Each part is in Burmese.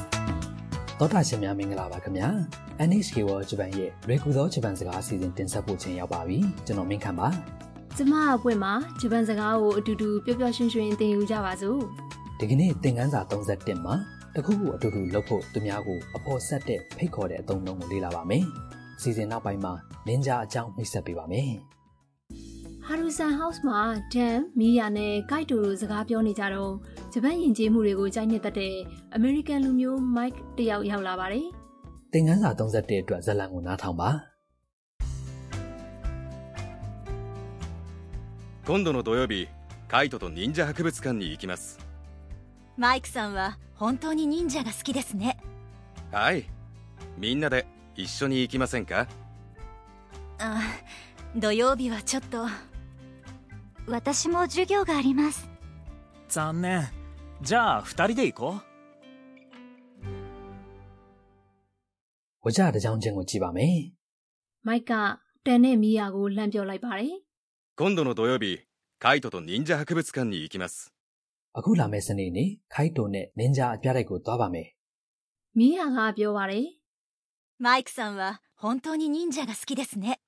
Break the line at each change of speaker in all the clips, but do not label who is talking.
သောတာရှင်များမင်္ဂလာပါခင်ဗျာ NHK World Japan ရဲ့ရေကူသောဂျပန်စကားအစီအစဉ်တင်ဆက်ဖို့ချိန်ရောက်ပါပြီကျွန်တော်မင်းခမ်းပါ
ကျမအပွင့်မှာဂျပန်စကားကိုအတူတူပျော်ပျော်ရွှင်ရွှင်သင်ယူကြပါစို့
ဒီကနေ့သင်ခန်းစာ31မှာတစ်ခုခုအတူတူလုပ်ဖို့သူများကိုအဖို့ဆက်တဲ့ဖိတ်ခေါ်တဲ့အသုံးအနှုန်းကိုလေ့လာပါမယ်အစီအစဉ်နောက်ပိုင်းမှာနင်ဂျာအကြောင်းမိတ်ဆက်ပေးပါမယ်
ဟာရူဆန်ဟောက်စ်မှာဒမ်မီယာနဲ့ဂိုက်တူတို့စကားပြောနေကြတော့ဂျပန်ယဉ်ကျေးမှုတွေကိုကြိုက်နှစ်သက်တဲ့အမေရိကန်လူမျိုးမိုက်တယောက်ရောက်လာပါတယ်
သင်ခန်းစာ31အတွက်ဇာတ်လမ်းကိုနားထောင်ပါ
今度の土曜日カイトと忍者博物館に行きます
マイクさんは本当に忍者が好きですね
はいみんなで一緒に行きませんか
あ土曜日はちょっと私も授業があります
残念じゃあ二人で行こう
ဝကြတစ်ကြောင်းချင်းကိုကြည့်ပါမယ်
မိုက်ကတန်နဲ့မီယာကိုလှမ်းပြောလိုက်ပါတယ်
今度の土曜日カイトと忍者博物館に行きます
အခုလာမယ့်စနေနေ့ခိုက်တိုနဲ့နင်ဂျာအပြားတိုက်ကိုသွားပါမယ်
မီယာကပြောပါတယ်
マイクさんは本当に忍者が好きですね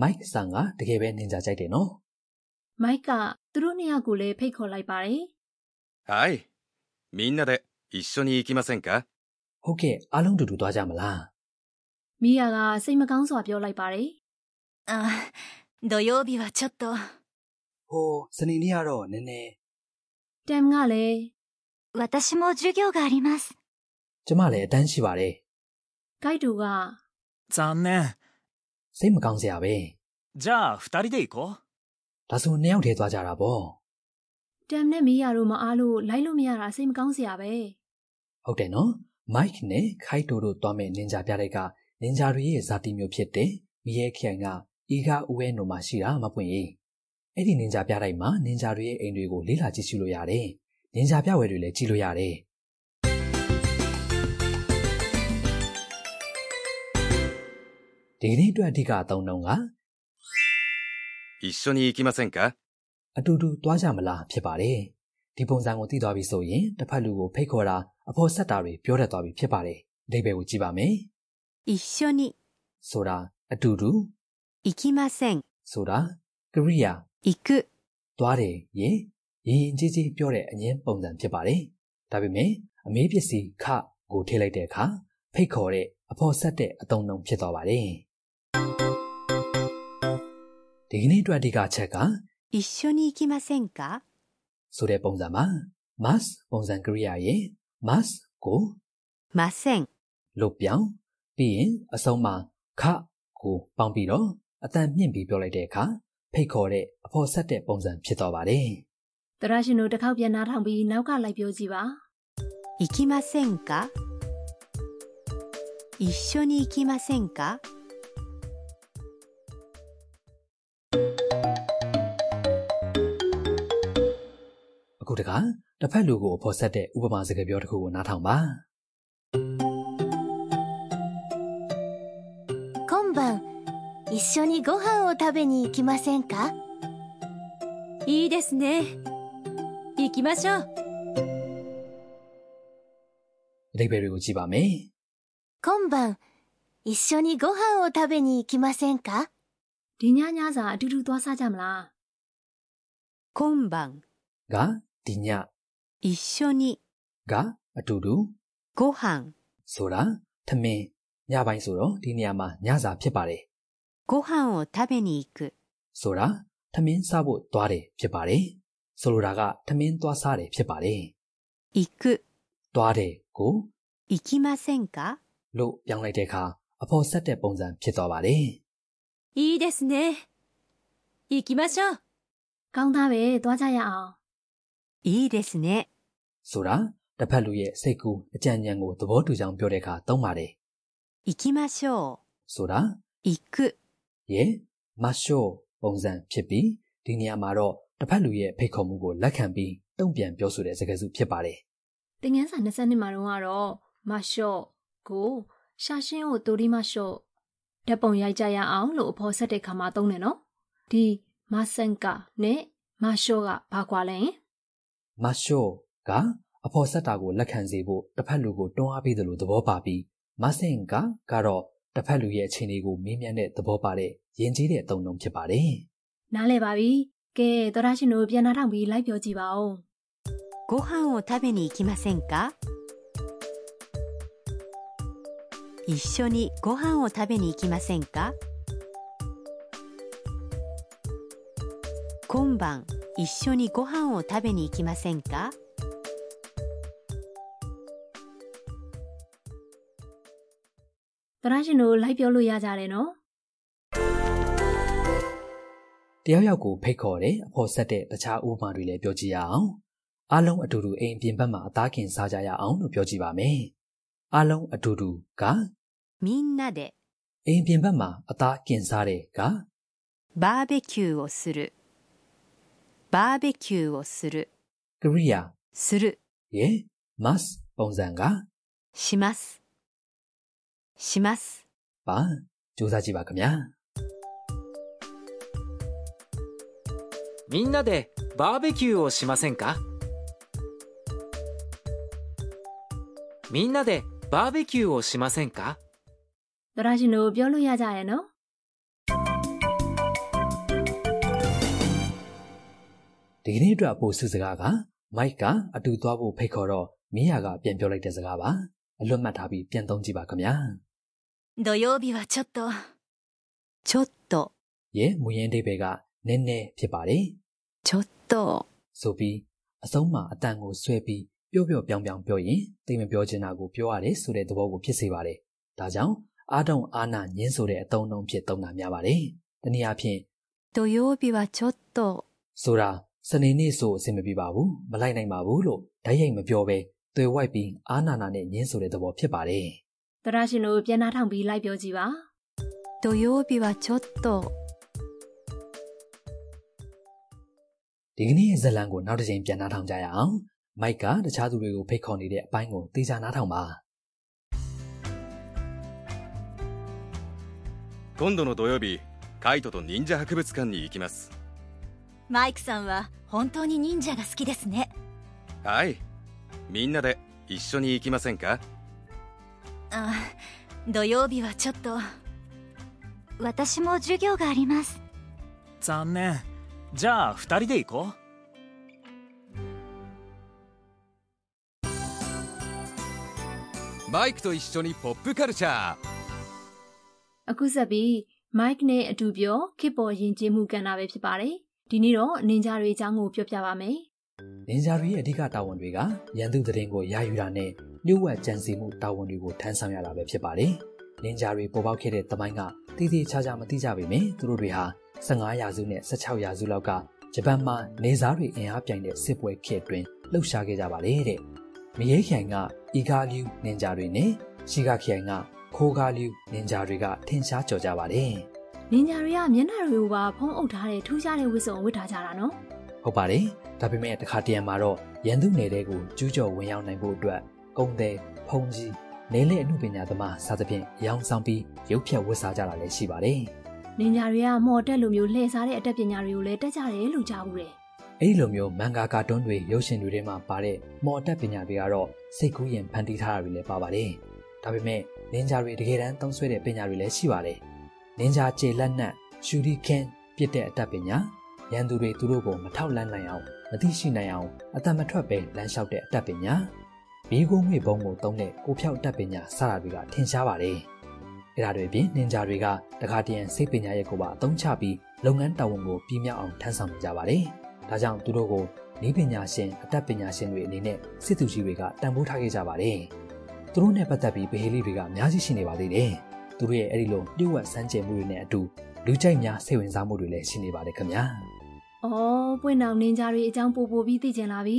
မိုက်ဆန်ကတကယ်ပဲနင်ဂျာကြိုက်တယ်နော်
မိုက်ကသူတို့နှစ်ယောက်ကိုလည်းဖိတ်ခေါ်လိုက်ပါတယ်
はいみんなで一緒に行きませんか
ဟုတ်ကဲ့အားလုံးအတူတူသွားကြမလား
မီယာကစိတ်မကောင်းစွာပြောလိုက်ပါတယ်
あ土曜日はちょっと
ဟိုစနေနေ့ကတော့နည်းနည်း
တမ်ကလည်း
私も授業があります
ကျမလည်းအတန်းရှိပါတယ်
ဂိုက်တူက
残念
စိတ်မကောင်းစရာပဲ
じゃあ二人で行こ
ဒါဆိုနှစ်ယောက်တည်းသွားကြတာပေါ့
တမ်နဲ့မီယာတို့မအားလို့လိုက်လို့မရတာစိတ်မကောင်းစရာပဲ
ဟုတ်တယ်နော်မိုက်နဲ့ခိုက်တိုတို့သွားမဲ့နင်ဂျာပြတိုက်ကနင်ဂျာတွေရဲ့ဇာတိမျိုးဖြစ်တဲ့မီးရဲခရိုင်ကဤကဦးဝဲနိုမှာရှိတာမပွင့်ရင်အဲ့ဒီနင်ဂျာပြတိုက်မှာနင်ဂျာတွေရဲ့အိမ်တွေကိုလေ့လာကြည့်ရှုလို့ရတယ်နင်ဂျာပြဝဲတွေလည်းကြည့်လို့ရတယ်ဒီကနေ့အတွက်အဓိကအသုံးအနှုန်းက
一緒に行きませんか
အတူတူသွားကြမလားဖြစ်ပါတယ်။ဒီပုံစံကိုသိသွားပြီဆိုရင်တစ်ဖက်လူကိုဖိတ်ခေါ်တာအဖို့ဆက်တာတွေပြောတတ်သွားပြီဖြစ်ပါတယ်။အဓိပ္ပာယ်ကိုကြည့်ပါမယ်
一緒に
။ဆိုတာအတူတူ
行きません
ဆိုတာကရိယာ
行く
သွားတယ်ရင်ရရင်ကြီးကြီးပြောတဲ့အငင်းပုံစံဖြစ်ပါတယ်။ဒါပေမဲ့အမေးပစ္စည်းခကိုထည့်လိုက်တဲ့အခါဖိတ်ခေါ်တဲ့အဖို့ဆက်တဲ့အတုံးတုံးဖြစ်သွားပါတယ်။ဒီကနေ့အတွက်အဓိကအချက်က
一緒に行きませんか
ဆိုတဲ့ပုံစံမှာ must ပုံစံကရိယာရဲ့ must ကို
ません
လုတ်ပြောင်းပြီးရင်အဆုံးမှာခကိုပေါင်းပြီးတော့အတန်မြင့်ပြီးပြောလိုက်တဲ့အခါဖိတ်ခေါ်တဲ့အဖို့ဆက်တဲ့ပုံစံဖြစ်သွားပါတယ်
တရရှင်တို့တစ်ခေါက်ပြန်နားထောင်ပြီးနောက်ကလိုက်ပြောကြည့်ပါ
行きませんか一緒に行きませんか
။အခုတခါတစ်ဖက်လူကိုအဖို့ဆက်တဲ့ဥပမာစကားပြောတစ်ခုကိုနားထောင်ပါ
今晩一緒にご飯を食べに行きませんか
いいですね行きましょう
။အဓိပ္ပာယ်တွေကိုကြည့်ပါမယ
今晩
်
一緒にご飯を食べに行きませんか
ဒီညညစာအတူတူသွားစားကြမလား
今晩
။ကဒီည
一緒に
ကအတူတူ
ご飯
ဆိုတာထမင်းညပိုင်းဆိုတော့ဒီနေရာမှာညစာဖြစ်ပါတယ်
ご飯を食べに行く
။ဆိုတာထမင်းစားဖို့သွားတယ်ဖြစ်ပါတယ်။ဆိုလိုတာကထမင်းသွားစားတယ်ဖြစ်ပါတယ်
行く
။သွားတယ်ကို
行きませんか
လို့ပြောင်းလိုက်တဲ့အခါအဖို့ဆက်တဲ့ပုံစံဖြစ်သွားပါတယ်
いいですね行きましょう
။ကောင်းသားပဲသွားကြရအောင်
いいですね
။ဆိုတာတစ်ဖက်လူရဲ့စိတ်ကူးအကြံဉာဏ်ကိုသဘောတူကြောင်းပြောတဲ့အခါသုံးပါတယ်
行きましょ
။ဆိုတာ
う行く
ရဲ့မရှောပုံစံဖြစ်ပြီးဒီနေရာမှာတော့တစ်ဖက်လူရဲ့ဖိတ်ခေါ်မှုကိုလက်ခံပြီးတုံ့ပြန်ပြောဆိုတဲ့စကားစုဖြစ်ပါတယ်
။တင်ငန်းစာ20နှစ်မှာတုန်းကတော့မရှော့ကိုရှာရှင်းကိုတူဒီမရှော့ဓာတ်ပုံရိုက်ကြရအောင်လို့အဖော်ဆက်တဲ့ခါမှာသုံးတယ်နော်။ဒီမဆန်ကာနဲ့မရှော့ကဘာကွာလဲ
။မရှောက အဖော်ဆက်တာကိုလက်ခံစေဖို့တစ်ဖက်လူကိုတွန်းအားပေးသလိုသဘောပါပြီးမဆင်ကကတော့တစ်ဖက်လူရဲ့အခြေအနေကိုမေးမြန်းတဲ့သဘောပါတဲ့ယဉ်ကျေးတဲ့အသုံးအနှုန်းဖြစ်ပါတယ်။
နားလည်ပါပြီကဲသောတာရှင်တို့ပြန်နာထောင်ပြီးလိုက်ပြောကြည့်ပါဦး
ご飯を食べに行きませんか一緒にご飯を食べに行きませんか今晩一緒にご飯を食べに行きませんか
သောတာရှင်တို့လိုက်ပြောလို့ရကြတယ်နော်
တယောက်ယောက်ကိုဖိတ်ခေါ်တယ်အဖို့ဆက်တဲ့တခြားဥပမာတွေလည်းပြောကြည့်ရအောင်အားလုံးအတူတူအိမ်ပြင်ဘက်မှာအသားခင်စားကြရအောင်လို့ပြောကြည့်ပါမယ်အားလုံးအတူတူက
みんなで
အိမ်ပြင်ဘက်မှာအသားခင်စားတယ်က
バーベキューをするバーベキューをする
ကရိယာ
する
ရဲ့ must ပုံစံက
しますします
ပါစူးစမ်းကြည့်ပါခင်ဗျာ
みんなでバーベキューをしませんかみんなでバーベキューをしませんか
သောတာရှင်တို့ပြောလို့ရကြတယ်နော်
ဒီကနေ့အတွက်အဖို့စုစကားက Mike ကအတူသွားဖို့ဖိတ်ခေါ်တော့မင်းရကပြန်ပြောလိုက်တဲ့စကားပါအလွတ်မှတ်ထားပြီးပြန်သုံးကြည့်ပါခင်ဗျာ
土曜日はちょっと
ちょっと
ရဲ့မူရင်းအဓိပ္ပာယ်ကနည်းနည်းဖြစ်ပါတယ်
ちょっと
ဆိုပြီးအဆုံးမှာအတန်ကိုဆွဲပြီးပျော့ပျော့ပြောင်းပြောင်းပြောရင်သိမပြောချင်တာကိုပြောရတယ်ဆိုတဲ့သဘောကိုဖြစ်စေပါတယ်။ဒါကြောင့်အာတုံအာနာညင်းဆိုတဲ့အသုံးအနှုန်းဖြစ်သုံးတာများပါတယ်။တနည်းအားဖြင့်
土曜日はちょっと
ဆိုတာစနေနေ့ဆိုအဆင်မပြေပါဘူးမလိုက်နိုင်ပါဘူးလို့ဓာတ်ရိုက်မပြောဘဲတွေဝိုက်ပြီးအာနာနာနဲ့ညင်းဆိုတဲ့သဘောဖြစ်ပါတယ်
သောတာရှင်တို့ပြန်နာထောင်ပြီးလိုက်ပြောကြည့်ပါ
土曜日はちょっと
။ဒီကနေ့ရဲ့ဇတ်လံကိုနောက်တစ်ချိန်ပြန်နှားထောင်ကြရအောင်။မိုက်ကတခြားသူတွေကိုဖိတ်ခေါ်နေတဲ့အပိုင်းကိုသိကြနှားထောင်ပါ
今度の土曜日カイトと忍者博物館に行きます
マイクさんは本当に忍者が好きですね
はいみんなで一緒に行きませんか
あ土曜日はちょっと
私も授業があります。
残念じゃあ二人で行こう
マイクと一緒にポップカルチャー
အခုဆက်ပြီး Mike နဲ့အတူပြောခေတ်ပေါ်ယဉ်ကျေးမှုကဏ္ဍပဲဖြစ်ပါတယ်ဒီနေ့တော့နင်ဂျာတွေအကြောင်းကိုပြောပြပါမယ်
။နင်ဂျာတွေရဲ့အဓိကတာဝန်တွေကရန်သူသတရင်ကိုရယူတာနဲ့လျှို့ဝှက်ကြံစီမှုတာဝန်တွေကိုထမ်းဆောင်ရတာပဲဖြစ်ပါတယ်။နင်ဂျာတွေပေါ်ပေါက်ခဲ့တဲ့သမိုင်းကတည်တည်ချာချာမသိကြပေမယ့်သူတို့တွေဟာ15ရာစုနဲ့16ရာစုလောက်ကဂျပန်မှာနေစားတွေအင်အားပြိုင်တဲ့စစ်ပွဲခေတ်တွင်လှုပ်ရှားခဲ့ကြပါလေတဲ့။မရေခိုင်က အီဂါလျူနင်ဂျာတွေနဲ့ရှီဂါခိုင်ကခိုဂါလျူနင်ဂျာတွေကထင်ရှားကျော်ကြပါတယ်။
နင်ဂျာတွေကမျက်နှာတွေကိုပါဖုံးအုပ်ထားတဲ့ထူးခြားတဲ့ဝတ်စုံဝတ်ထားကြတာနော်
ဟုတ်ပါတယ်ဒါပေမဲ့တစ်ခါတရံမှာတော့ရန်သူနယ်တွေကိုကျူးကျော်ဝင်ရောက်နိုင်ဖို့အတွက်ကုံတယ်ဖုန်ကြီးနေလေအမှုပညာသမားစသဖြင့်ရောင်းဆောင်ပြီးရုပ်ဖြတ်ဝတ်စားကြတာလည်းရှိပါတယ်
နင်ဂျာတွေကမော်တက်လိုမျိုးလှည့်စားတဲ့အတတ်ပညာတွေကိုလည်းတက်ကြတယ်လို့ကြားဘူးတယ်
အဲဒီလိုမျိုးမန်ဂါကာတွန်းတွေရုပ်ရှင်တွေထဲမှာပါတဲ့မော်တက်ပညာတွေကတော့စိတ်ကူးရင်ဖန်တီးထားတာတွေလည်းပါပါတယ်ဒါပေမဲ့နင်ဂျာတွေတကယ်တမ်းသုံးဆွဲတဲ့ပညာတွေလည်းရှိပါတယ်နင်ဂျာခြေလက်နက်ရှူရီကန်ပြစ်တဲ့အတတ်ပညာရန်သူတွေသူတို့ကိုမထောက်လန့်နိုင်အောင်မသိရှိနိုင်အောင်အတတ်မထွက်ပဲလမ်းလျှောက်တဲ့အတတ်ပညာ ဘီကုန်းငွေဘုံကိုတုံးတဲ့ကိုဖြောက်တက်ပညာစတာတွေကထင်ရှားပါတယ်။အဲဒါတွေအပြင်နင်ဂျာတွေကတခါတရံစိတ်ပညာရဲ့ကိုပါအသုံးချပြီးလုပ်ငန်းတာဝန်ကိုပြင်းမြောက်အောင်ထမ်းဆောင်နေကြပါတယ်။ဒါကြောင့်သူတို့ကိုနည်းပညာရှင်အတတ်ပညာရှင်တွေအနေနဲ့စစ်သူကြီးတွေကတန်ဖိုးထားခဲ့ကြပါတယ်။သူတို့နဲ့ပတ်သက်ပြီးဗဟေလိတွေကအများကြီးရှိနေပါသေးတယ်။သူတို့ရဲ့အဲဒီလိုပြုတ်ဝက်စမ်းကြယ်မှုတွေနဲ့အတူလူကြိုက်များစိတ်ဝင်စားမှုတွေလည်းရှိနေပါတယ်ခင်ဗျာ။
။အော်ပွင့်အောင်နင်ဂျာတွေအကြောင်းပို့ပို့ပြီးသိကျင်လာပြီ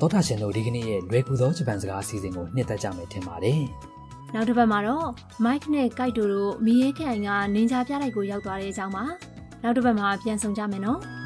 သောတာရှင်တို့ဒီကနေ့ရဲ့လွယ်ကူသောဂျပန်စကားအစီအစဉ်ကိုနှစ်သက်ကြမယ်ထင်ပါတယ်။
။နောက်တစ်ပတ်မှာတော့ Mike နဲ့ Kaito တို့မီးရဲခိုင်ကနင်ဂျာပြတိုက်ကိုရောက်သွားတဲ့အကြောင်းပါ။နောက်တစ်ပတ်မှာပြန်ဆောင်ကြမယ်နော်။